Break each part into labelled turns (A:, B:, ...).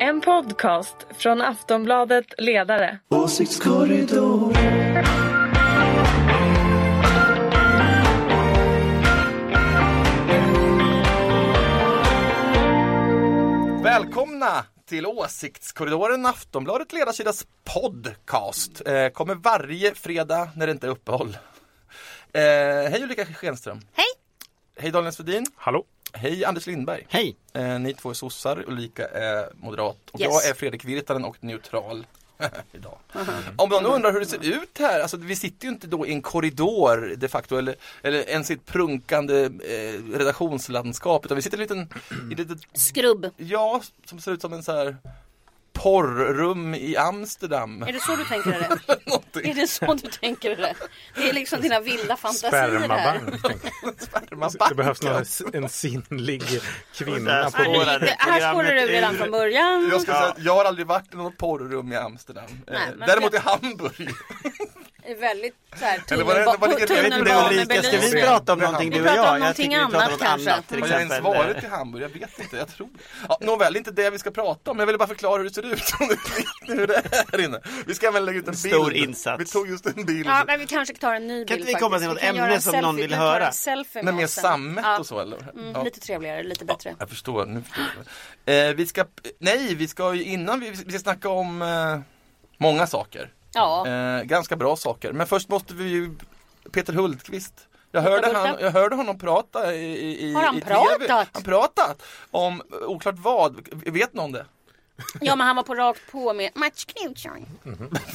A: En podcast från Aftonbladet Ledare.
B: Välkomna till Åsiktskorridoren, Aftonbladet Ledarsidas podcast. Eh, kommer varje fredag när det inte är uppehåll. Eh, hej Ulrika Schenström.
C: Hej.
B: Hej Daniel Svedin.
D: Hallå!
B: Hej Anders Lindberg.
D: Hej!
B: Eh, ni två är sossar, Ulrika är moderat och
C: Yes.
B: jag är Fredrik Virtanen och neutral. Idag.
C: Mm.
B: Om någon undrar hur det ser ut här, alltså vi sitter ju inte då i en korridor de facto eller, eller ens i ett prunkande eh, redaktionslandskap utan vi sitter i en liten, i ett litet
C: Skrubb.
B: Ja, som ser ut som en så här porrrum i Amsterdam.
C: Är det så du tänker dig det?
B: Någonting.
C: Är det så du tänker dig det? Det är liksom dina vilda fantasier här.
D: Spermabank. tänkte jag.
B: Sperma
D: Det behövs någon, en sinnlig kvinna på
C: Nej, det, här spårar du redan från början.
B: Jag, ska säga, att jag har aldrig varit i något porrrum i Amsterdam.
C: Nej,
B: eh,
C: men-
B: däremot i Hamburg.
C: Är Väldigt så här
B: Eller var det- var det-
C: tunnelba-
B: jag vet inte,
E: Ulrika, ska vi
C: tunnelbanebelysning.
E: prata om någonting du och
C: pratar om
E: jag? Jag
C: någonting
E: tycker vi pratar om
C: annat
E: något
C: kanske.
E: annat till
B: Har jag ens
E: exempel. eh,
B: varit i Hamburg? Jag vet inte, jag tror det. Ja, nåväl, det är inte det vi ska prata om. Jag ville bara förklara hur det ser ut. om ni vet hur det är här inne. Vi ska även lägga ut en bild.
E: Stor insats.
B: Vi tog just en bild.
C: Ja, men vi kanske tar en ny bild
E: Kan inte vi komma till
C: faktiskt.
E: något
C: Vi kan
E: ämne
C: göra en
E: som någon
C: selfie.
E: vill
C: Vi tar
E: höra?
C: en selfie
B: Men med
C: oss sen.
B: sammet
C: Ja.
B: och så eller?
C: Mm,
B: Ja.
C: Lite trevligare, lite
B: Ja,
C: bättre.
B: jag förstår, nu förstår jag. Eh, vi ska, nej, vi ska ju innan, vi, vi ska snacka om eh, många saker.
C: Ja.
B: Eh, ganska bra saker. Men först måste vi ju Peter Hultqvist. Jag hörde,
C: Hulta.
B: han, jag hörde honom prata i, i, i
C: Har han
B: i
C: pratat?
B: Han pratat om eh, oklart vad. Vet någon det?
C: ja, men han var på rakt på med Mats Knutsson.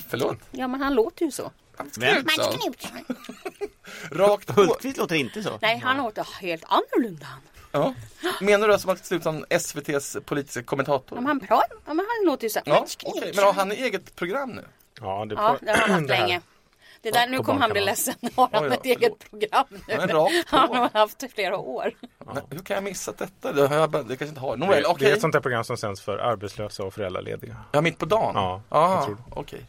B: Förlåt.
C: Ja, men han låter ju så.
E: Men
C: Mats Knutsson.
B: Rakt på.
E: Hultqvist låter inte så.
C: Nej, han låter helt annorlunda.
B: Ja. Menar du alltså att han ser ut som SVTs politiska kommentator?
C: Om han pratar, ja, men han låter ju så här.
B: Ja,
C: Mats
B: okej.
C: Knutsson.
B: Men har han eget program nu?
D: Ja, det,
C: Ja, det har han haft
D: det här.
C: länge. Det där, nu
D: på
C: kommer han bli
D: Barnkanalen.
C: ledsen. Nu har han
B: Oj då,
C: ett eget program nu.
B: Han är rakt på.
C: Han har haft i flera år.
B: Nej, hur kan jag missat detta? Det, har jag, bara- det kanske inte har.
D: Det,
B: Nåväl,
D: det är
B: okej.
D: ett sånt här program som sänds för arbetslösa och föräldralediga.
B: Ja, mitt på dagen?
D: Ja,
B: ah,
D: jag tror det.
B: okej.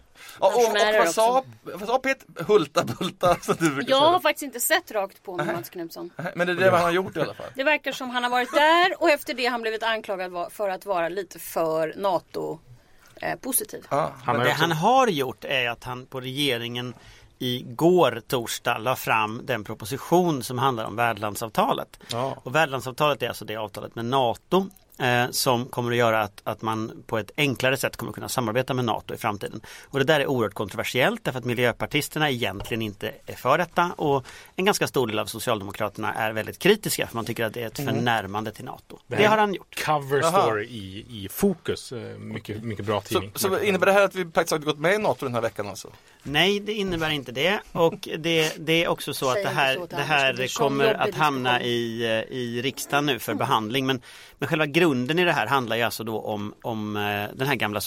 B: Ja, och, och,
C: Pensionärer
B: vad sa, vad sa Peter Hulta Bulta? Så du brukar
C: Jag har
B: säga.
C: faktiskt inte sett rakt på med Mats Knutsson.
B: Nej, Men det är det han har gjort i alla fall.
C: Det verkar som han har varit där och efter det har han blivit anklagad va- för att vara lite för eh, NATO-positiv.
B: Ja,
D: Han har
E: Det
D: ju också,
E: han har gjort är att han på regeringen igår torsdag la fram den proposition som handlar om värdlandsavtalet.
D: Ja.
E: Och värdlandsavtalet är alltså det avtalet med NATO eh, som kommer att göra att, att man på ett enklare sätt kommer att kunna samarbeta med NATO i framtiden. Och det där är oerhört kontroversiellt därför att miljöpartisterna egentligen inte är för detta och en ganska stor del av Socialdemokraterna är väldigt kritiska för man tycker att det är ett förnärmande till NATO.
D: Mm. Det
E: Det
D: här-
E: har han gjort.
D: cover
B: Jaha.
D: story i, i fokus. Eh, Mycket, mycket bra
B: Så,
D: tidning.
B: så innebär det här att vi faktiskt har gått med i NATO den här veckan alltså?
E: Nej, det innebär inte det. Och det, det är också så att
C: Säg
E: det
C: inte
E: här,
C: så till
E: det
C: Anders, det blir
E: här
C: sån
E: kommer
C: jobbig
E: att hamna
C: diskussion.
E: i, eh, i riksdagen nu för behandling. Men, men själva grunden i det här handlar ju alltså då om, om eh, den här gamla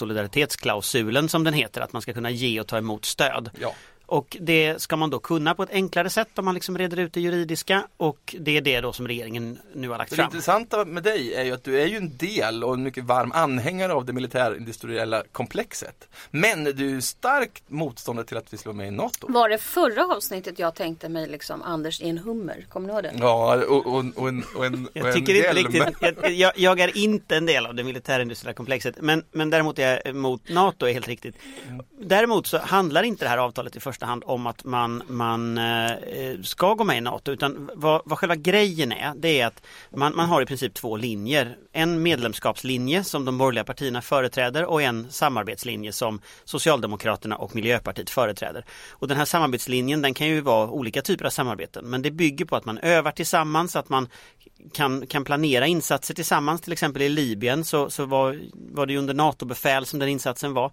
E: solidaritetsklausulen som den heter, att man ska kunna ge och ta emot stöd.
B: Ja.
E: Och det ska man då kunna på ett enklare sätt om man liksom reder ut det juridiska och det är det då som regeringen nu har lagt
B: Så det
E: fram.
B: intressanta med dig är ju att du är ju en del och en mycket varm anhängare av det militärindustriella komplexet. Men du är ju starkt motståndare till att vi slår med i NATO.
C: Var det förra avsnittet jag tänkte mig liksom Anders i en hummer? Kommer ni ihåg
D: Mm,
C: det?
B: Ja, och, och, och en, och en, och en
E: Jag tycker inte
B: hjälm.
E: riktigt, jag, jag, jag är inte en del av det militärindustriella komplexet men, men däremot är jag mot NATO är helt riktigt. Däremot så handlar inte det här avtalet i första hand om att man, man eh, ska gå med i NATO utan vad, vad själva grejen är det är att man, man har i princip två linjer. En medlemskapslinje som de borgerliga partierna företräder och en samarbetslinje som Socialdemokraterna och Miljöpartiet företräder. Och den här samarbetslinjen den kan ju vara olika typer av samarbeten men det bygger på att man övar tillsammans, att man kan, kan planera insatser tillsammans. Till exempel i Libyen så, så var, var det ju under NATO-befäl som den insatsen var.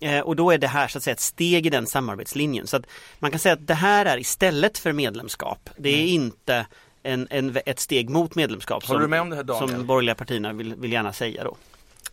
E: Eh, och då är det här så att säga ett steg i den samarbetslinjen. Så att man kan säga att det här är istället för medlemskap. Det är inte en, en, ett steg mot medlemskap
B: Mm. Håller du med om det här, Daniel? Alltså
E: som de borgerliga partierna vill, vill gärna säga då.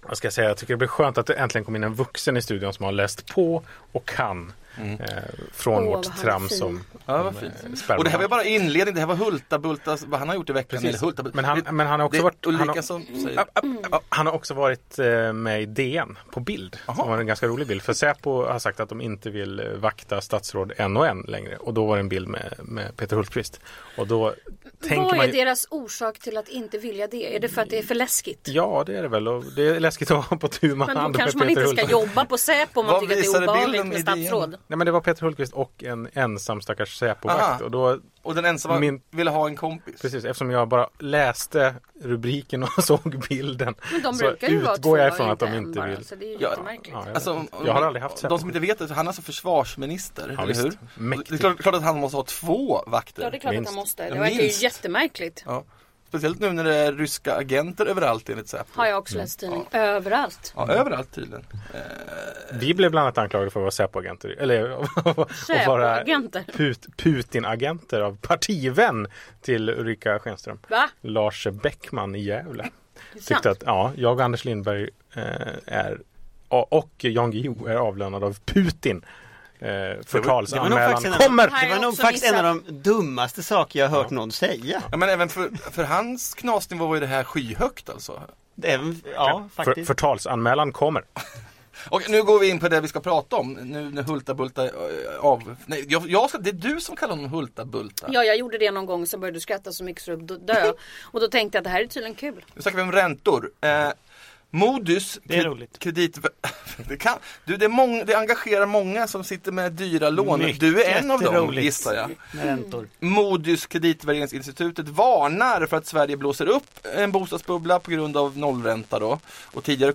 D: Jag ska säga, jag tycker det blir skönt att det äntligen kom in en vuxen i studion som har läst på och kan.
B: Mm.
D: eh, från
C: Åh,
D: vårt
C: vad han är
D: trams
C: fin.
D: som
B: Ja, vad
D: om,
B: fint.
D: eh, sperma.
B: Och det här var bara inledning, det här var Hultabulta, vad han har gjort i veckan.
D: Precis.
B: Eller Hultabulta.
D: Men han-
B: Det-
D: men han har också
B: det är
D: varit- han
B: Ulrika
D: har-
B: som säger.
D: App, app, app. Han har också varit eh, med i DN på bild.
B: Aha.
D: Det var en ganska rolig bild. För Säpo har sagt att de inte vill eh, vakta statsråd en och en längre. Och då var det en bild med, med Peter Hultqvist. Och då tänker
C: Vad
D: man
C: är
D: ju-
C: deras orsak till att inte vilja det? Är det för att det är för läskigt?
D: Ja, det är det väl. Och det är läskigt att vara på tu man
C: Men
D: hand
C: då
D: med
C: kanske man
D: Peter
C: inte ska
D: Hultqvist.
C: jobba på Säpo om man
B: Vad
C: tycker att det
B: visade
C: är obehagligt
B: bilden i
C: med
B: DN?
C: statsråd.
D: Nej, men det var Peter Hultqvist och en ensam stackars Säpovakt.
B: Aha.
D: Och då,
B: Och den ensamma
D: Min-
B: ville ha en kompis.
D: precis, eftersom jag bara läste rubriken och såg bilden.
C: Men de
D: så
C: brukar ju vara två
D: utgår jag ifrån
C: och
D: att de
C: en
D: inte
C: bara,
D: vill.
C: Så det är ju
B: Ja,
C: jättemärkligt.
D: Ja, jag,
B: Alltså, om-
D: vet. jag har aldrig haft Säpo.
B: De som inte vet det, han är alltså försvarsminister,
D: Ja,
B: eller
D: visst.
B: hur?
D: Mäktigt.
B: Det är klart, klart att han måste ha två vakter.
C: Ja, det är klart att
D: Minst.
C: han måste.
B: Ja,
C: Det verkar ju
B: minst.
C: jättemärkligt.
B: Ja. Speciellt nu när det är ryska agenter överallt enligt Säpo.
C: Har jag också läst tidning. Överallt.
B: Ja, överallt tydligen.
D: Vi blev bland annat anklagade för att vara Säpo-agenter. Eller att vara
C: Säpoagenter.
D: put, Putin-agenter av partivän till Ulrika Schenström.
C: Va?
D: Lars Bäckman i Gävle.
C: Det är sant.
D: Tyckte att ja, jag och Anders Lindberg eh, är och Jan Guillou är avlönad av Putin. Eh,
E: Det var nog
D: förtalsanmälan
E: faktiskt en-
D: kommer!
C: Nej.
E: Det var
C: jag
E: nog
C: också
E: faktiskt en
C: missat.
E: av de dummaste saker jag har hört någon säga.
B: Ja, men även för, för hans knasnivå var ju det här skyhögt alltså.
E: Det är, ja,
D: För,
E: faktiskt.
D: förtalsanmälan kommer.
B: Och nu går vi in på det vi ska prata om. Nu när Hultabulta eh, av... Nej, jag, jag ska, det är du som kallar honom Hultabulta.
C: Ja, jag gjorde det någon gång så började du skratta så mycket så du dö. Och då tänkte jag att det här är tydligen kul.
B: Nu snackar vi om räntor. Eh, Modus
E: Det är
B: kre-
E: roligt.
B: kredit... Det, kan, du, det, är mång, det engagerar många som sitter med dyra lån. Du är en av dem
E: roligt.
B: gissar jag.
E: Med räntor.
B: Modus kreditvärderingsinstitutet varnar för att Sverige blåser upp en bostadsbubbla på grund av nollränta då. Och tidigare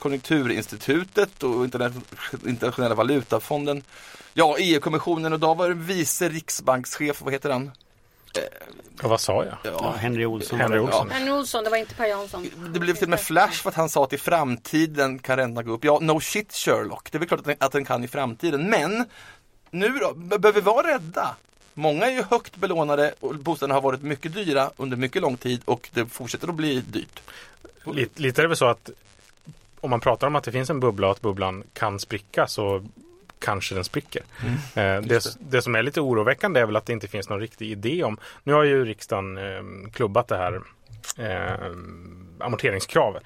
B: Konjunkturinstitutet och Interna- Internationella valutafonden. Ja, EU-kommissionen och då var det vice riksbankschef, vad heter han?
D: Och vad sa jag?
E: Ja, Henry Olsson.
D: Henry
E: var det.
D: Olsson.
C: Henry Olsson, det var inte Per Jansson.
B: Det blev till och med flash för att han sa att i framtiden kan räntan gå upp. Ja, no shit Sherlock. Det är väl klart att den, att den kan i framtiden. Men nu då, be- behöver vi vara rädda? Många är ju högt belånade och bostäderna har varit mycket dyra under mycket lång tid och det fortsätter att bli dyrt.
D: Lite, lite är det väl så att om man pratar om att det finns en bubbla och att bubblan kan spricka så kanske den spricker. Eh, det,
B: Just
D: det som är lite oroväckande är väl att det inte finns någon riktig idé om. Nu har ju riksdagen eh, klubbat det här eh, amorteringskravet.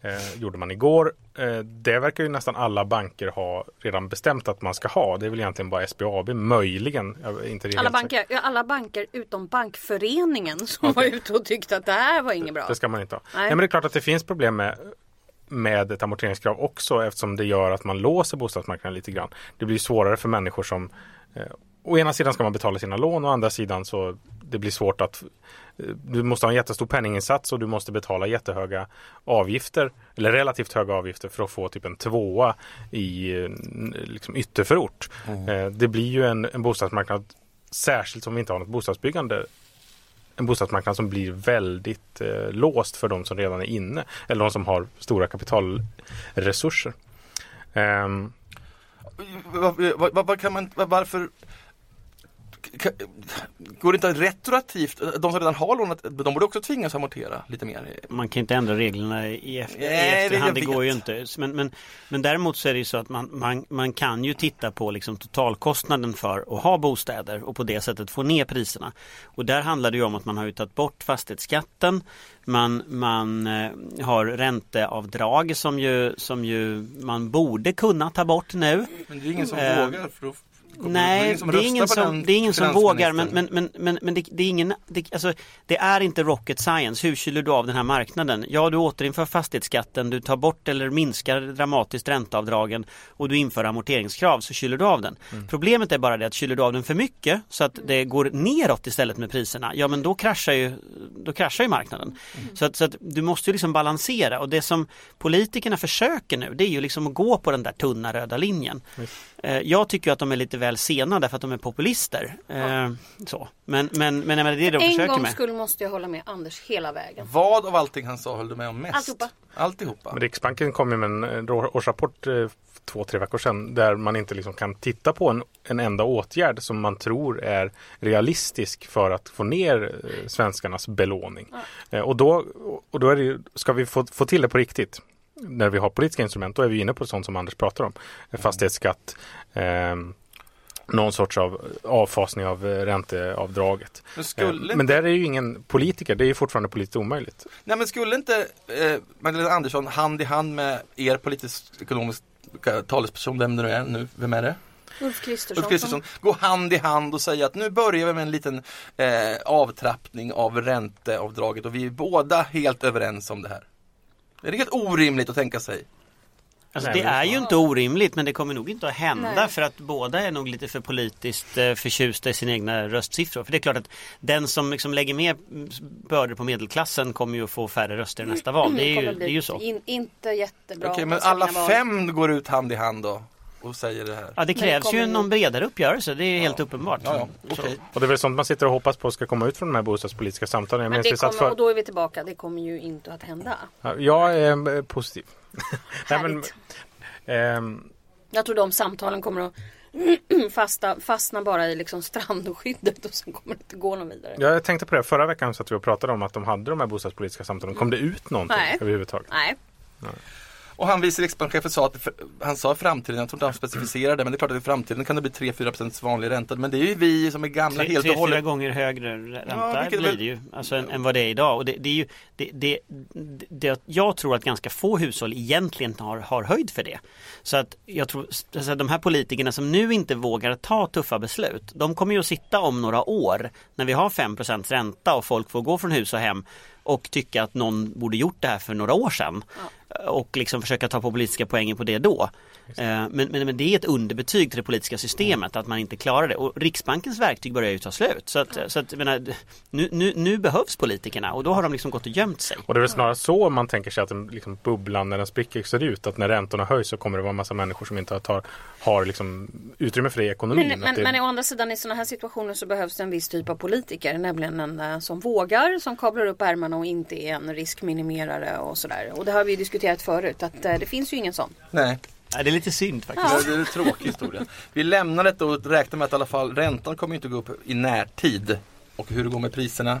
D: Eh, gjorde man igår. Eh, det verkar ju nästan alla banker ha redan bestämt att man ska ha. Det är väl egentligen bara SBAB möjligen. Jag är inte helt
C: Alla
D: säker.
C: banker, ja, alla banker utom Bankföreningen som var ute och tyckte att det här var inget bra.
D: Det ska man inte ha. Nej.
C: Nej.
D: men det är klart att det finns problem med, med ett amorteringskrav också eftersom det gör att man låser bostadsmarknaden lite grann. Det blir svårare för människor som eh, Å ena sidan ska man betala sina lån, å andra sidan så det blir svårt att eh, du måste ha en jättestor penninginsats och du måste betala jättehöga avgifter eller relativt höga avgifter för att få typ en tvåa i eh, n- liksom ytterförort. Eh, Det blir ju en, en bostadsmarknad, särskilt som vi inte har något bostadsbyggande en bostadsmarknad som blir väldigt eh, låst för de som redan är inne eller de som har stora kapitalresurser. Ehm,
B: Vad- vad- vad- vad kan man, vad- varför K- Går det inte retroaktivt? De som redan har lånat, de borde också tvingas amortera lite mer.
E: Man kan ju inte ändra reglerna i, ef-
B: Nej,
E: i
B: det
E: efterhand, det,
B: jag
E: går ju
B: vet.
E: inte. Men, men, men däremot så är det ju så att man, man, man kan ju titta på liksom totalkostnaden för att ha bostäder och på det sättet få ner priserna. Och där handlar det ju om att man har ju tagit bort fastighetsskatten, man, man eh, har ränteavdrag som ju, som ju man borde kunna ta bort nu.
B: Men det är ingen som
E: Eh,
B: vågar. För då,
E: Nej, det är ingen
B: röstar på
E: som,
B: den
E: det är ingen som vågar men,
B: finansministern.
E: men, men, men, men det, det är ingen, det, alltså, det är inte rocket science. Hur kyler du av den här marknaden? Ja, du återinför fastighetsskatten, du tar bort eller minskar dramatiskt ränteavdragen och du inför amorteringskrav så kyler du av den.
B: Mm.
E: Problemet är bara det att kyler du av den för mycket så att det går neråt istället med priserna, ja men då kraschar ju, då kraschar ju marknaden.
B: Mm.
E: Så, att, så att du måste ju liksom balansera och det som politikerna försöker nu det är ju liksom att gå på den där tunna röda linjen. Eh, Jag tycker ju att de är lite väl sena därför att de är populister. Eh, Så. Men, men, men jag menar, det är det de
C: En
E: försöker
C: gång
E: med.
C: skulle måste jag hålla med Anders hela vägen.
B: Vad av allting han sa höll du med om mest?
C: Alltihopa.
B: Alltihopa.
D: men Riksbanken kom ju med en eh, rå- årsrapport eh, två, tre veckor sedan där man inte liksom kan titta på en, en enda åtgärd som man tror är realistisk för att få ner eh, svenskarnas belåning. Eh, Och då, och då är det, ju- ska vi få, få till det på riktigt när vi har politiska instrument, då är vi inne på sånt som Anders pratar om. Eh, Fastighetsskatt, ehm, någon sorts av avfasning av eh, ränteavdraget.
B: Men skulle,
D: Eh, Men där är ju ingen politiker, det är ju fortfarande politiskt omöjligt.
B: nej, men skulle inte eh, Magdalena Andersson hand i hand med er politisk ekonomiska talesperson, vem det nu är nu, vem är det?
C: Ulf
B: Ulf
C: Kristersson.
B: Kristersson, gå hand i hand och säga att nu börjar vi med en liten eh, avtrappning av ränteavdraget och vi är båda helt överens om det här. Det är helt orimligt att tänka sig.
E: Alltså,
D: Nej,
E: det
D: men det
E: är ju inte orimligt men det kommer nog inte att hända
C: Nej.
E: för att båda är nog lite för politiskt eh, förtjusta i sina egna röstsiffror. För det är klart att den som liksom lägger mer mm, bördor på medelklassen kommer ju att få färre röster i nästa val. Det är
C: Mm, kommer
E: ju,
C: bli
E: det är ju så.
C: In, inte jättebra.
B: Okej,
C: om
B: men
C: man ska
B: alla
C: vinna val.
B: fem går ut hand i hand då och säger det här.
E: Ja, det
C: det
E: krävs ju
C: kommer-
E: någon bredare uppgörelse, det är helt uppenbart.
B: Ja, ja,
E: Så.
B: okej.
D: Och det är väl sånt man sitter och hoppas på ska komma ut från de här bostadspolitiska samtalen. Jag
C: Men
D: minns
C: det
D: vi satt
C: kommer,
D: för...
C: och då är vi tillbaka, det kommer ju inte att hända.
D: Ja, Jag är eh, positiv. Nej, men,
C: Härligt.
D: ehm,
C: Jag tror de samtalen kommer att fasta, fastna bara i liksom strandskyddet och sen kommer det inte gå någon vidare.
D: Ja, jag tänkte på det. Förra veckan satt vi och pratade om att de hade de här bostadspolitiska samtalen. Kom det ut någonting
C: Nej.
D: överhuvudtaget?
C: Nej,
B: Och han vice riksbankschefen sa att han sa i framtiden, jag tror inte han specificerade, men det är klart att i framtiden kan det bli 3-4% vanlig ränta. Men det är ju vi som är gamla
E: Tre,
B: helt
E: tre,
B: och
E: fyra
B: hållet.
E: gånger högre
B: Ja,
E: ränta
B: vilket
E: blir
B: väl-
E: det ju alltså, än, än vad det är idag. Och det, det är ju, det, det, det, det, jag tror att ganska få hushåll egentligen har, har höjd för det. Så att jag tror alltså, de här politikerna som nu inte vågar ta tuffa beslut, de kommer ju att sitta om några år när vi har 5 ränta och folk får gå från hus och hem och tycka att någon borde gjort det här för några år sedan. Och liksom försöka ta på politiska poängen på det då. Eh, Men, men, men det är ett underbetyg till det politiska systemet att man inte klarar det. Och Riksbankens verktyg börjar ju ta slut. Så, att, så att, jag menar, nu, nu, nu behövs politikerna och då har de liksom gått och gömt sig.
D: Och det är väl snarare så man tänker sig att den liksom, bubblan när den spricker ser ut. Att när räntorna höjs så kommer det vara en massa människor som inte har, tar, har liksom, utrymme för det i ekonomin.
C: men,
D: Att
C: men,
D: det,
C: men å andra sidan i sådana här situationer så behövs det en viss typ av politiker, nämligen en eh, som vågar, som kablar upp ärmarna och inte är en riskminimerare och sådär. Och det har vi ju diskuterat förut, att eh, det finns ju ingen sån.
B: Nej,
E: Ja, det är lite synd faktiskt.
B: det är en tråkig historia. Vi lämnar detta och räknar med att i alla fall räntan kommer ju inte gå upp i närtid. Och hur det går med priserna.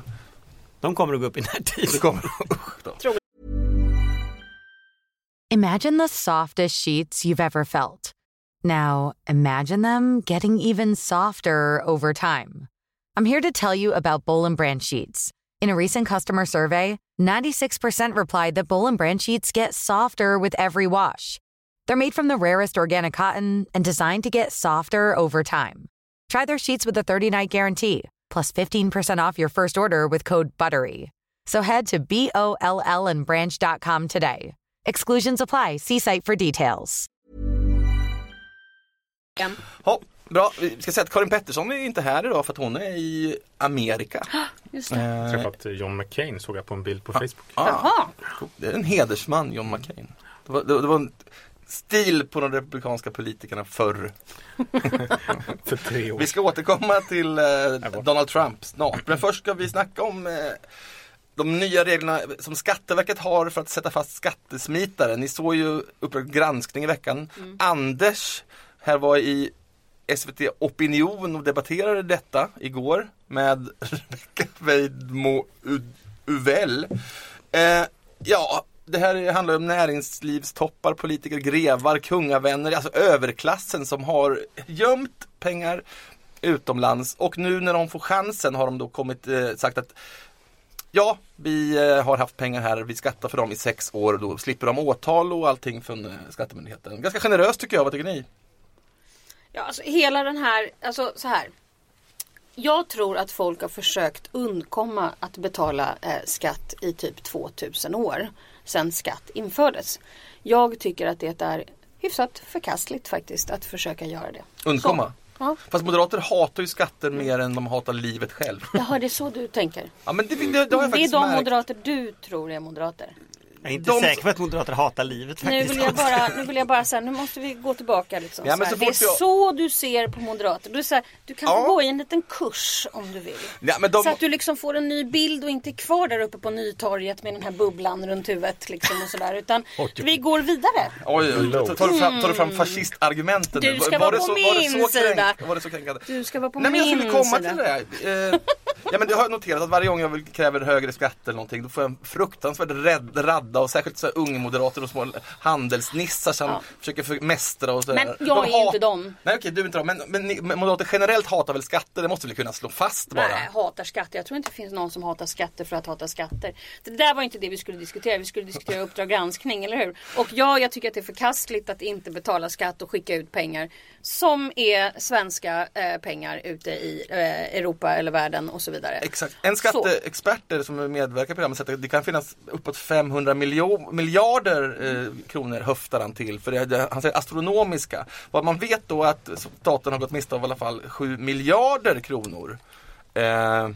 E: De kommer att gå upp i närtid.
B: Det kommer, usch då.
F: Imagine the softest sheets you've ever felt. Now, imagine them getting even softer over time. I'm here to tell you about Bowl and Branch sheets. In a recent customer survey, 96% replied that Bowl and Branch sheets get softer with every wash. They're made from the rarest organic cotton and designed to get softer over time. Try their sheets with a 30-night guarantee, plus 15% off your first order with code BUTTERY. So head to B-O-L-L and branch.com today. Exclusions apply. See site for details.
C: En.
B: Ja, bra. Vi ska säga att Karin Pettersson är inte här idag för att hon är i Amerika.
C: Just det.
D: Jag
B: Eh,
D: träffat John McCain såg jag på en bild på Facebook.
B: ja,
C: Jaha,
B: det är en hedersman, John McCain. Det var, det, det var en stil på de republikanska politikerna förr.
D: För tre år
B: Vi ska återkomma till eh, Donald Trump snart. Men först ska vi snacka om eh, de nya reglerna som Skatteverket har för att sätta fast skattesmitare. Ni såg ju Uppdrag granskning i veckan. Anders här var i SVT Opinion och debatterade detta igår med Rebecca Weidmo U- Uvell. Eh, ja, det här handlar om näringslivstoppar, politiker, grevar, kungavänner, alltså överklassen som har gömt pengar utomlands och nu när de får chansen har de då kommit eh, sagt att Ja, vi eh, har haft pengar här, vi skattar för dem i sex år och då slipper de åtal och allting från eh, skattemyndigheten. Ganska generöst tycker jag, vad tycker ni?
C: Ja, alltså hela den här, alltså så här. Jag tror att folk har försökt undkomma att betala eh, skatt i typ 2000 år sedan skatt infördes. Jag tycker att det är hyfsat förkastligt faktiskt att försöka göra det.
B: Undkomma?
C: Ja,
B: Fast moderater hatar ju skatter mer än de hatar livet själv.
C: Jaha, det är så du tänker.
B: Ja men det, det, det har jag
C: Det är
B: faktiskt
C: de
B: märkt.
C: moderater du tror är moderater.
E: Jag är inte
B: De-
E: säker på att moderater hatar livet
C: Nu
E: faktiskt.
C: vill jag bara, nu vill jag bara säga, nu måste vi gå tillbaka liksom.
B: Ja, men
C: så här.
B: så
C: det
B: fort
C: är
B: jag-
C: så du ser på moderater. Du, är så här, du kan
B: Ja.
C: få gå i en liten kurs om du vill.
B: Ja, men de...
C: Så att du liksom får en ny bild och inte är kvar där uppe på Nytorget med den här bubblan runt huvudet liksom och sådär. Utan vi går vidare.
B: Oj, oj, oj, tar du fram, tar du fram fascistargumenten
C: Mm. Du
B: nu?
C: ska vara på
B: var det
C: min
B: så kränk-
C: sida.
B: Var det så kränkande?
C: Du ska vara på
B: Nej men jag
C: min
B: skulle komma
C: sida.
B: till det. här. Eh, Ja, men jag har noterat att varje gång jag vill kräver högre skatt eller någonting då får jag en fruktansvärd rädd, radda och särskilt så här ungmoderater och små handelsnissar som försöker för- mästra och sådär.
C: Men jag är ju inte dem.
B: Nej okej, du är inte dem. Men, men, ni- men moderater generellt hatar väl skatter? Det måste vi kunna slå fast bara?
C: Nej, hatar skatter. Jag tror inte det finns någon som hatar skatter för att hata skatter. Det där var inte det vi skulle diskutera. Vi skulle diskutera Uppdrag granskning, eller hur? Och ja, jag tycker att det är förkastligt att inte betala skatt och skicka ut pengar som är svenska eh, pengar ute i eh, Europa eller världen och så vidare.
B: Exakt. En skatteexperter som medverkar i programmet säger att det kan finnas uppåt 500 miljo- miljarder eh, kronor höftar han till. För det, det, han säger astronomiska. Vad man vet då är att staten har gått miste av i alla fall 7 miljarder kronor eh,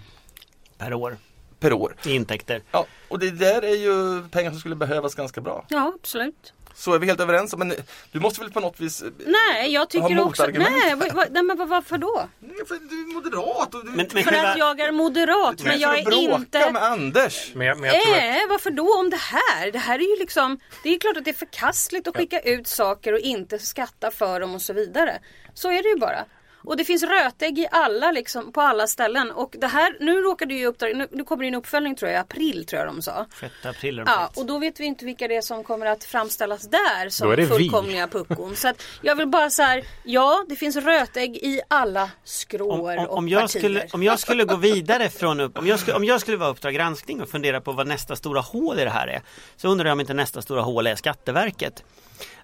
E: Per år
B: per år.
E: i intäkter.
B: Ja, och det där är ju pengar som skulle behövas ganska bra.
C: Ja, absolut.
B: Så är vi helt överens. om, Men du måste väl på något vis... eh,
C: Nej, jag tycker också...
B: motargument
C: Nej, vad- vad- nej, men vad- varför då?
B: För du är moderat och du...
E: Men, men
C: För att
E: själva,
C: jag är moderat, men jag är
B: bråka
C: inte...
B: med Anders.
D: Men jag, men
C: Eh,
D: jag tror att
C: Nej, varför då om det här? Det här är ju liksom, det är klart att det är förkastligt att skicka ut saker och inte skatta för dem och så vidare. Så är det ju bara. Och det finns rötägg i alla, liksom, på alla ställen. Och det här, nu råkar det ju uppdrag, nu, nu kommer det en uppföljning tror jag, i april tror jag de sa.
E: 6 april är de
C: Ja,
E: sagt.
C: och då vet vi inte vilka det är som kommer att framställas där
D: Då är det
C: som
D: vi.
C: fullkomliga puckon. Så att jag vill bara så här, ja det finns rötägg i alla
E: om,
C: skråer
E: om,
C: och
E: om, jag
C: partier.
E: skulle, om jag skulle gå vidare från upp, om jag skulle, om jag skulle vara Uppdrag granskning och fundera på vad nästa stora hål i det här är. Så undrar jag om inte nästa stora hål är Skatteverket.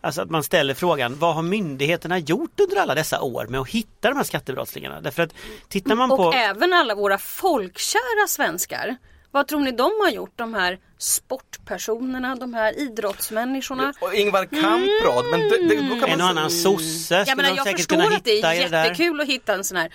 E: Alltså att man ställer frågan, vad har myndigheterna gjort under alla dessa år med att hitta de här skattebrottslingarna? Därför att tittar man på...
C: Och även alla våra folkkära svenskar. Vad tror ni de har gjort? De här sportpersonerna, de här idrottsmänniskorna.
B: Och Ingvar Kamprad. Men det, det, då kan
E: En och
B: man,
E: annan sosse
C: Jag
E: skulle
C: menar
E: de
C: jag
E: säkert
C: förstår
E: kunna
C: att det
E: hitta
C: är
E: i det där.
C: jättekul att hitta en sån här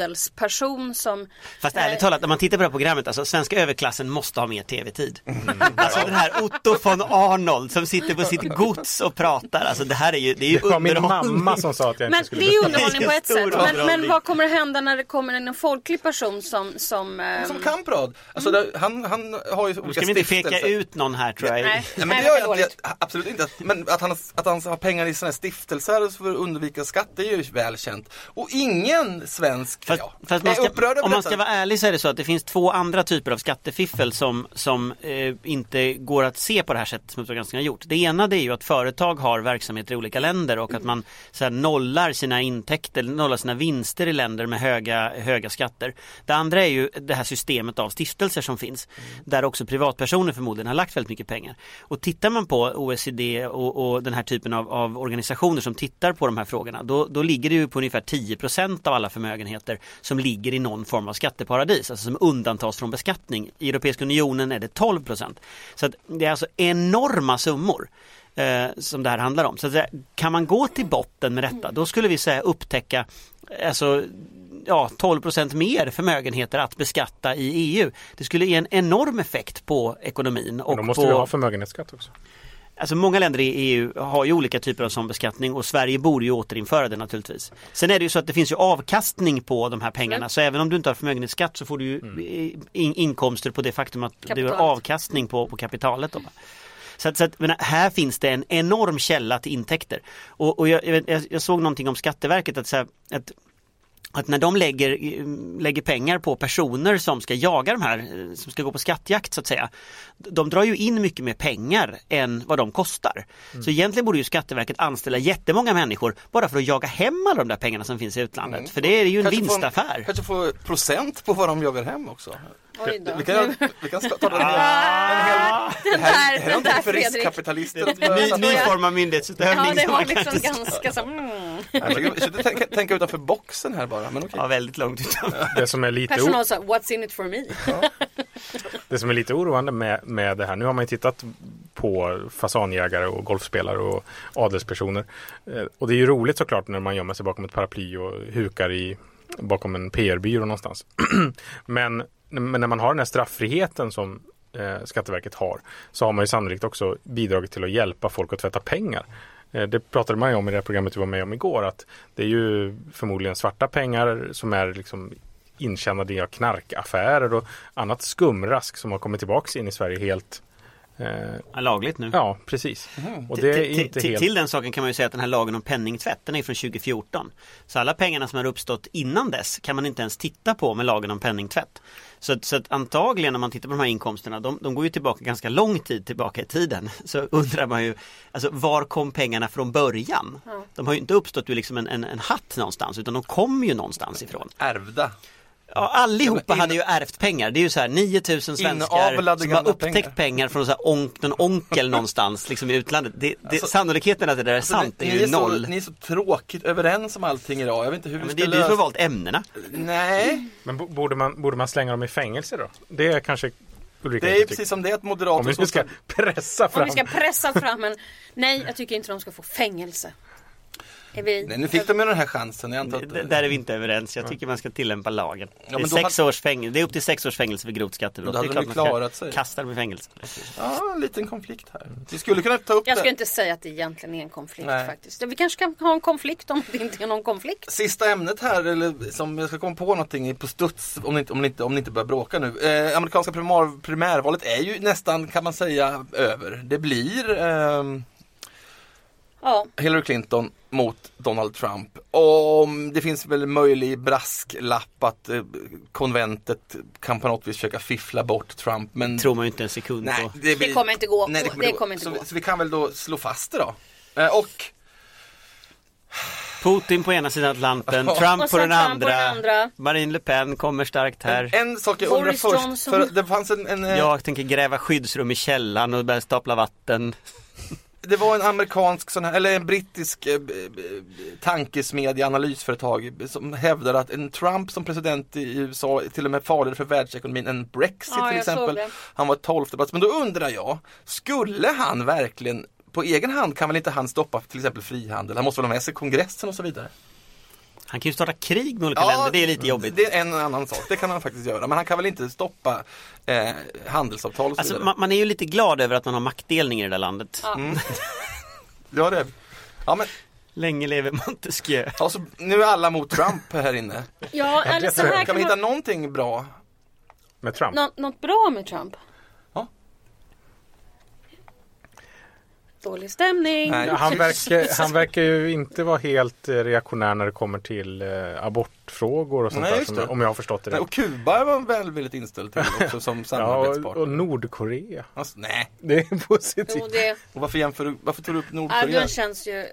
C: adelsperson som eh,
E: Fast ärligt talat, när man tittar på det här programmet, alltså svenska överklassen måste ha mer tv-tid.
D: Mm.
E: Alltså den här Otto von Arnold som sitter på sitt gods och pratar, alltså det här är ju, det är ju
D: det var min
E: underhållning.
D: mamma som sa att jag inte
C: Men det
D: skulle
C: är ju
D: betala.
C: underhållning på ett
E: Stor
C: sätt. Men, men
E: underhållning.
C: vad kommer att hända när det kommer en folklig person som, som, ehm,
B: Som Kamprad. Alltså,
C: Mm.
B: det, han, han har ju
E: Nu
B: olika
E: ska vi inte
B: stiftelser.
E: peka ut någon här tror jag.
C: nej,
B: Nej, men
C: nej,
B: det gör
C: vad
B: jag
C: dåligt.
B: inte, jag- absolut inte. Men att han, att han har pengar i sådana här stiftelser för att undvika skatt, det är ju välkänt. Och ingen svensk
E: Fast,
B: ja,
E: fast man
B: är
E: ska,
B: upprörd över
E: om man
B: detta.
E: ska vara ärlig så är det så att det finns två andra typer av skattefiffel som, som eh, inte går att se på det här sättet som Uppdrag granskning har gjort. Det ena det är ju att företag har verksamheter i olika länder och att man så här, nollar sina intäkter, nollar sina vinster i länder med höga, höga skatter. Det andra är ju det här systemet av stiftelser som finns där också privatpersoner förmodligen har lagt väldigt mycket pengar. Och tittar man på OECD och, och den här typen av, av organisationer som tittar på de här frågorna då, då ligger det ju på ungefär 10 av alla förmögenheter som ligger i någon form av skatteparadis, alltså som undantas från beskattning. I Europeiska unionen är det 12 Så att det är alltså enorma summor eh, som det här handlar om. Så att, säga, kan man gå till botten med detta, då skulle vi säga upptäcka alltså, ja, 12 mer förmögenheter att beskatta i EU. Det skulle ge en enorm effekt på ekonomin.
D: Men
E: Och
D: Då måste
E: på...
D: vi ha förmögenhetsskatt också.
E: Alltså många länder i EU har ju olika typer av sån beskattning och Sverige borde ju återinföra det naturligtvis. Sen är det ju så att det finns ju avkastning på de här pengarna så även om du inte har förmögenhetsskatt så får du ju in, inkomster på det faktum att du
C: Kapitalet.
E: har avkastning på, på kapitalet. Då. va? Så, att, så att, men här finns det en enorm källa till intäkter. Och, och jag, jag, vet- jag- jag såg någonting om Skatteverket att, så här, att att när de lägger, eh, lägger pengar på personer som ska jaga de här, eh, som ska gå på skattjakt så att säga. De drar ju in mycket mer pengar än vad de kostar. Så egentligen borde ju Skatteverket anställa jättemånga människor bara för att jaga hem alla de där pengarna som finns i utlandet. För det är ju en
B: Kanske få en-
E: vinstaffär.
B: Kanske få procent på vad de jagar hem också.
C: Oj då.
B: Vi kan, vi kan ta det här.
C: Den
B: Det här,
C: där,
B: det här är
C: den
B: någonting
C: där
B: för
C: Fredrik.
B: riskkapitalister. att börja
E: Ah. Ny,
B: satsa
E: ny
B: på.
E: form av myndighetsutövning.
C: Ja, det
E: som
C: var
E: man
C: liksom
E: faktiskt-
C: ganska så mm.
B: Jag försöker- försöker tänka, tänka utanför boxen här bara. Men okej.
E: Ja, väldigt långt utanför.
D: Det som är lite o-
C: Personal sa, what's in it for me?
D: Det som är lite oroande med, med det här, nu har man ju tittat på fasanjägare och golfspelare och adelspersoner. Eh, Och det är ju roligt såklart när man gömmer sig bakom ett paraply och hukar i, bakom en PR-byrå någonstans. men, men när man har den här strafffriheten som eh, Skatteverket har så har man ju sannolikt också bidragit till att hjälpa folk att tvätta pengar. Eh, Det pratade man ju om i det här programmet vi var med om igår att det är ju förmodligen svarta pengar som är liksom intjänade i knarkaffärer och annat skumrask som har kommit tillbaks in i Sverige helt Eh,
E: Ja, Lagligt nu.
D: ja, precis. Och det
E: Till-
D: är
E: till-
D: inte
E: till-
D: helt...
E: Till den saken kan man ju säga att den här lagen om penningtvätt, den är från 2014. Så alla pengarna som har uppstått innan dess kan man inte ens titta på med lagen om penningtvätt. Så, att- så att antagligen när man tittar på de här inkomsterna, de, de går ju tillbaka ganska lång tid tillbaka i tiden. Så undrar man ju, alltså var kom pengarna från början? De har ju inte uppstått ur liksom en, en, en hatt någonstans, utan de kom ju någonstans ifrån.
B: Ärvda.
E: Ja, allihopa
B: Ja, men in-
E: hade ju ärvt pengar. Det är ju så här 9000 svenskar
B: Inavlade
E: som har
B: gamla
E: upptäckt pengar,
B: pengar.
E: från så här onk, någon onkel någonstans liksom i utlandet. Det, det, sannolikheten att det där är sant
B: Alltså- ni,
E: är
B: ni
E: ju
B: är så,
E: noll.
B: Ni är så tråkigt överens om allting idag. Jag vet inte hur
E: Ja,
B: vi
E: men
B: ska
E: det är Mm. du som har
B: lösa...
E: valt ämnena.
B: Nej,
D: Men bo- borde man, borde man slänga dem i fängelse då? Det är kanske Ulrika
B: det är
D: inte
B: precis
D: tycker.
B: som det att
D: Om
B: moderater...
D: vi nu ska pressa
C: Om
D: fram...
C: vi ska pressa fram en... Nej, jag tycker inte de ska få fängelse. Är vi...
B: Nej, nu fick de ju den här chansen. Jag antar att...
E: D- Där är vi inte överens. Jag tycker man ska tillämpa lagen. Det är,
B: men då
E: sex
B: hade-
E: års fängelse. det är upp till sex års fängelse för grovt skattebrott.
B: Då hade
E: det är
B: de ju
E: man ska
B: klarat sig.
E: Kasta dem i fängelse.
B: Ja, en liten konflikt här. Vi skulle kunna ta upp
C: Jag
B: det.
C: skulle inte säga att det egentligen är en konflikt
B: Nej.
C: faktiskt. Vi kanske kan ha en konflikt om det inte är någon konflikt.
B: Sista ämnet här, eller som jag ska komma på någonting på studs om ni inte, om ni inte, om ni inte börjar bråka nu. Eh, amerikanska primär, primärvalet är ju nästan kan man säga över. Det blir ehm,
C: Ja,
B: Hillary Clinton mot Donald Trump. Om det finns väl möjlig brasklapp att eh, konventet kan på något vis försöka fiffla bort Trump. Men
E: Tror man ju inte en sekund
B: Nej,
E: på.
B: det, blir-
C: kommer inte gå.
B: Nej, det kommer,
C: Det
B: inte
C: kommer
B: gå.
C: inte
B: så,
C: gå.
B: Vi, så vi kan väl då slå fast det då. Eh, och
E: Putin på ena sidan Atlanten,
B: Och
E: Trump, på
C: sen
E: den,
C: Trump på
E: andra.
C: den andra.
E: Marine Le Pen kommer starkt här.
B: en sak jag
C: Boris
B: undrar först.
C: Johnson.
B: För det fanns en, en eh,
E: Jag tänker gräva skyddsrum i källaren och börja stapla vatten.
B: Det var en amerikansk sån här, eller en brittisk eh, b- b- tankesmedja, analysföretag som hävdade att en Trump som president i USA är till och med farligare för världsekonomin än Brexit
C: Ja,
B: till
C: jag såg
B: exempel.
C: det.
B: Han var 12 plats. Men då undrar jag, skulle han verkligen på egen hand kan väl inte han stoppa till exempel frihandel? Han måste väl ha med sig kongressen och så vidare? Mm.
E: Han kan ju starta krig med olika länder, det är lite jobbigt.
B: Det är en annan sak, det kan han faktiskt göra. Men han kan väl inte stoppa eh, handelsavtal och så
E: Alltså,
B: vidare?
E: man, man är ju lite glad över att man har maktdelning i det där landet.
C: Ja.
B: Mm. Ja, det är vi. Ja, men
E: Länge lever Montesquieu.
B: alltså, nu är alla mot Trump här inne.
C: ja eller så här
B: Kan
C: kan
B: vi hitta
C: man...
B: någonting bra
D: Med Trump?
C: Nå- något bra med Trump?
B: Ja.
C: Dålig stämning.
B: Nej.
D: Ja, Han verkar, han verkar ju inte vara helt eh, reaktionär när det kommer till eh, abortfrågor och sånt
B: Nej,
D: där,
B: just
D: som,
B: det.
D: om jag har förstått det
B: Nej,
D: rätt.
B: och Kuba var välvilligt inställd till också som
D: Ja, och,
B: samarbetspartner.
D: och Nordkorea.
B: alltså, nej,
D: Det är
C: Jo,
D: positivt.
C: det...
B: och varför, jämför du, varför tar du upp Nordkorea?
C: Erdogan känns ju...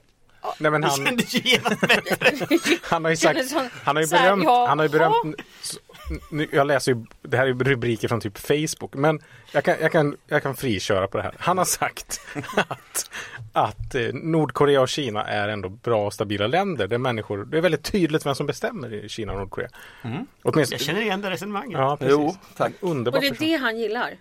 D: Nej, men
E: Det
D: han,
E: kändes ju genast bättre.
D: han har ju
C: kändes
D: sagt,
C: som-
D: han har ju
C: så här,
D: berömt,
C: ja,
D: han har ju
C: ja.
D: berömt, så- nu, jag läser ju, det här är ju rubriker från typ Facebook, men jag kan, jag kan, jag kan friköra på det här. Han har sagt att, att eh, Nordkorea och Kina är ändå bra och stabila länder där människor, det är väldigt tydligt vem som bestämmer i Kina och Nordkorea. Åtminstone,
E: Jag känner igen det resonemanget.
D: ja, precis.
B: Jo, tack.
D: Underbar
C: Och det är
D: person.
C: det han gillar.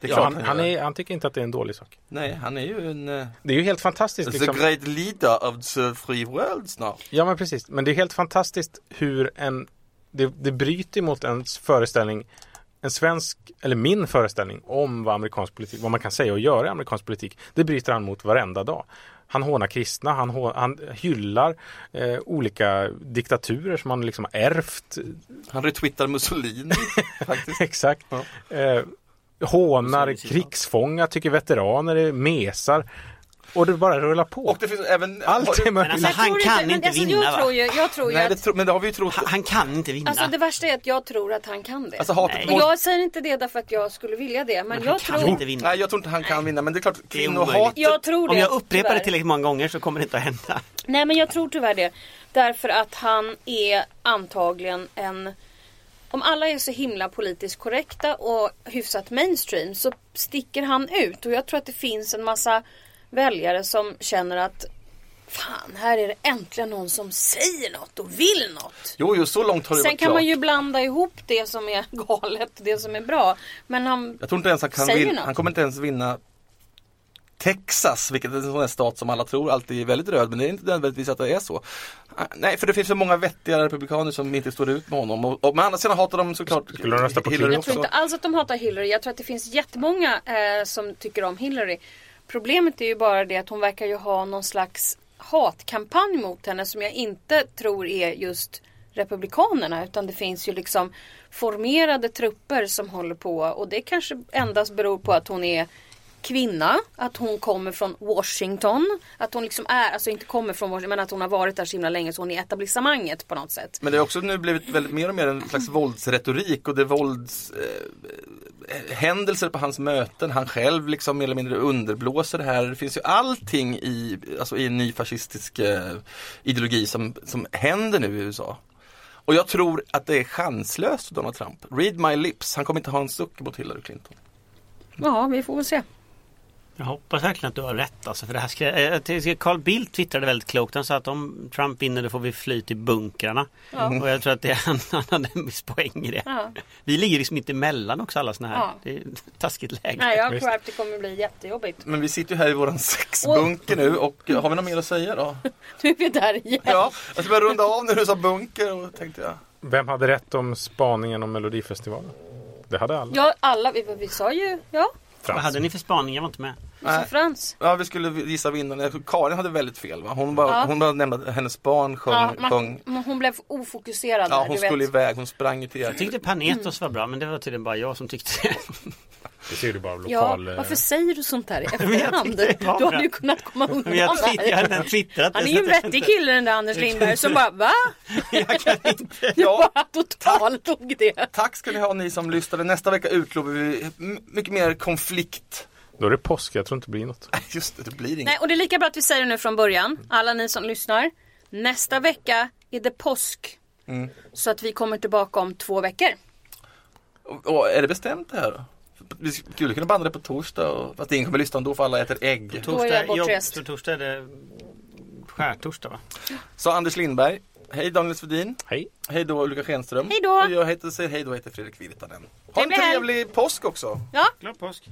B: Det är
D: Ja,
B: klart
D: han, han,
B: gör.
D: är, han tycker inte att det är en dålig sak.
B: Nej, han är ju en... eh,
D: Det är ju helt fantastiskt.
B: The
D: Liksom.
B: great leader of the free world snart.
D: Ja men precis. Men det är helt fantastiskt hur en det, det bryter mot ens föreställning en svensk, eller min föreställning om vad amerikansk politik, vad man kan säga och göra i amerikansk politik. Det bryter han mot varenda dag. Han hånar kristna, han, hå- han hyllar eh, olika diktaturer som han liksom har ärvt.
B: Han retweetar Mussolini faktiskt.
D: Exakt.
B: Ja.
D: Eh, hånar krigsfångar, tycker veteraner är mesar. Och det bara rullar på.
B: Och det finns även... har
D: Allt
B: du-
D: är
E: Men
D: möjligt.
E: alltså han
C: tror
E: kan
C: men
E: inte
C: alltså,
E: vinna
C: jag
E: va?
C: tror ju, jag tror ju
B: Nej, det
C: att...
B: tro, men det har vi ju trott.
E: Han, han kan inte vinna.
C: Alltså det värsta är att jag tror att han kan det.
B: Alltså hatet
E: Nej.
C: Och
B: mot...
C: jag säger inte det därför att jag skulle vilja det. Men,
E: han
C: jag
E: kan
C: tror...
E: inte vinna.
B: Nej, jag tror inte han kan vinna, men det är klart,
E: Det är
B: kvinnohat...
E: omöjligt.
C: Jag tror det.
E: Om jag upprepar det
C: tyvärr.
E: tillräckligt många gånger så kommer det inte att hända.
C: Nej men jag tror tyvärr det. Därför att han är antagligen en... Om alla är så himla politiskt korrekta och hyfsat mainstream så sticker han ut. Och jag tror att det finns en massa väljare som känner att Fan, här är det äntligen någon som säger något och vill något.
B: Jo, jo, så långt har det
C: Sen
B: varit
C: kan
B: klart.
C: man ju blanda ihop det som är galet och det som är bra. Men han...
B: Jag tror inte ens han kan
C: Säger
B: vinna.
C: något.
B: Han kommer inte ens vinna Texas, vilket är en sån här stat som alla tror alltid är väldigt röd, men det är inte nödvändigtvis att det är så. Ah, Nej, för det finns så många vettiga republikaner som inte står ut med honom. Och, och, men å andra sidan hatar de såklart
D: Skulle de rösta på
B: Hillary
D: Clinton?
C: Jag tror inte alls att de hatar Hillary. Jag tror att det finns jättemånga eh, som tycker om Hillary. Problemet är ju bara det att hon verkar ju ha någon slags hatkampanj mot henne som jag inte tror är just Republikanerna utan det finns ju liksom formerade trupper som håller på och det kanske endast beror på att hon är kvinna, att hon kommer från Washington. Att hon liksom är, alltså inte kommer från Washington men att hon har varit där så himla länge så hon är etablissemanget på något sätt.
B: Men det har också nu blivit väldigt mer och mer en slags våldsretorik och det är vålds eh, händelser på hans möten. Han själv liksom mer eller mindre underblåser det här. Det finns ju allting i, alltså i en ny fascistisk eh, ideologi som, som händer nu i USA. Och jag tror att det är chanslöst för Donald Trump. Read my lips, han kommer inte ha en suck mot Hillary Clinton.
C: Ja, vi får väl se.
E: Jag hoppas verkligen att du har rätt alltså, för det här ska, eh, till- Carl Bildt twittrade väldigt klokt. Han sa att om Trump vinner då får vi fly till bunkrarna.
C: Ja.
E: Och jag tror att det, han, han hade en viss poäng i det.
C: Ja.
E: Vi ligger liksom mitt emellan också alla såna här.
C: Ja.
E: Det är ett taskigt läge.
C: Nej, jag
D: Visst.
C: tror att det kommer bli jättejobbigt.
B: Men vi sitter ju här i våran sexbunker nu och eh, har vi något mer att säga då?
C: Nu är vi där igen.
B: Ja, jag ska börja runda av när du sa bunker och tänkte jag.
D: Vem hade rätt om spaningen om Melodifestivalen? Det hade alla.
C: Ja, alla, vi, vi sa ju, ja,
D: Alltså.
E: Vad hade ni för spaning? Jag var inte med.
C: vi sa
B: Nej.
C: Frans.
B: Ja vi skulle gissa vinnarna. Jag tror Karin hade väldigt fel va? Hon bara,
C: Ja.
B: hon bara nämnde att hennes barn sjöng.
C: Ja,
B: Ja,
C: man,
B: sjöng.
C: men hon blev ofokuserad
B: ja
C: där,
B: hon
C: du
B: skulle
C: vet.
B: iväg, hon sprang ju till
E: Jag
B: er.
E: tyckte Panetos
C: Mm.
E: var bra men det var tydligen bara jag som tyckte det.
D: Det ser du bara av
C: Ja,
D: lokal... eh,
C: varför säger du sånt här i
E: jag
C: efterhand?
E: tyckte det var
C: Du hade
E: bra.
C: ju kunnat komma undan
E: Men jag, twitt- jag
C: här.
E: hade redan twittrat det,
C: Han är ju
E: så
C: en
E: att jag-
C: vettig kille den där Anders Lindberg som bara va?
E: Jag kan inte.
B: Ja,
C: Bara totalt tog det.
B: tack ska ni ha ni som lyssnade. Nästa vecka utlovar vi m- mycket mer konflikt.
D: Då är det påsk, jag tror inte det blir något.
B: Nej, Just det, det blir inget.
C: Nej, och det är lika bra att vi säger det nu från början, alla ni som lyssnar. Nästa vecka är det påsk.
B: Mm.
C: Så att vi kommer tillbaka om två veckor.
B: Och, och, är det bestämt det här då? Vi skulle kunna banda det på torsdag, och, fast ingen kommer lyssna då för alla äter ägg.
C: Då är jag bortrest.
E: så torsdag är det skärtorsdag va?
B: Så Anders Lindberg, hej Daniel Svedin,
D: Hej!
B: hej då Ulrika Schenström.
C: Hej då.
B: Och jag heter, säger hej då, heter Fredrik Virtanen. Ha en
C: Trevlig helg.
B: trevlig påsk också.
C: Ja,
E: Glad påsk!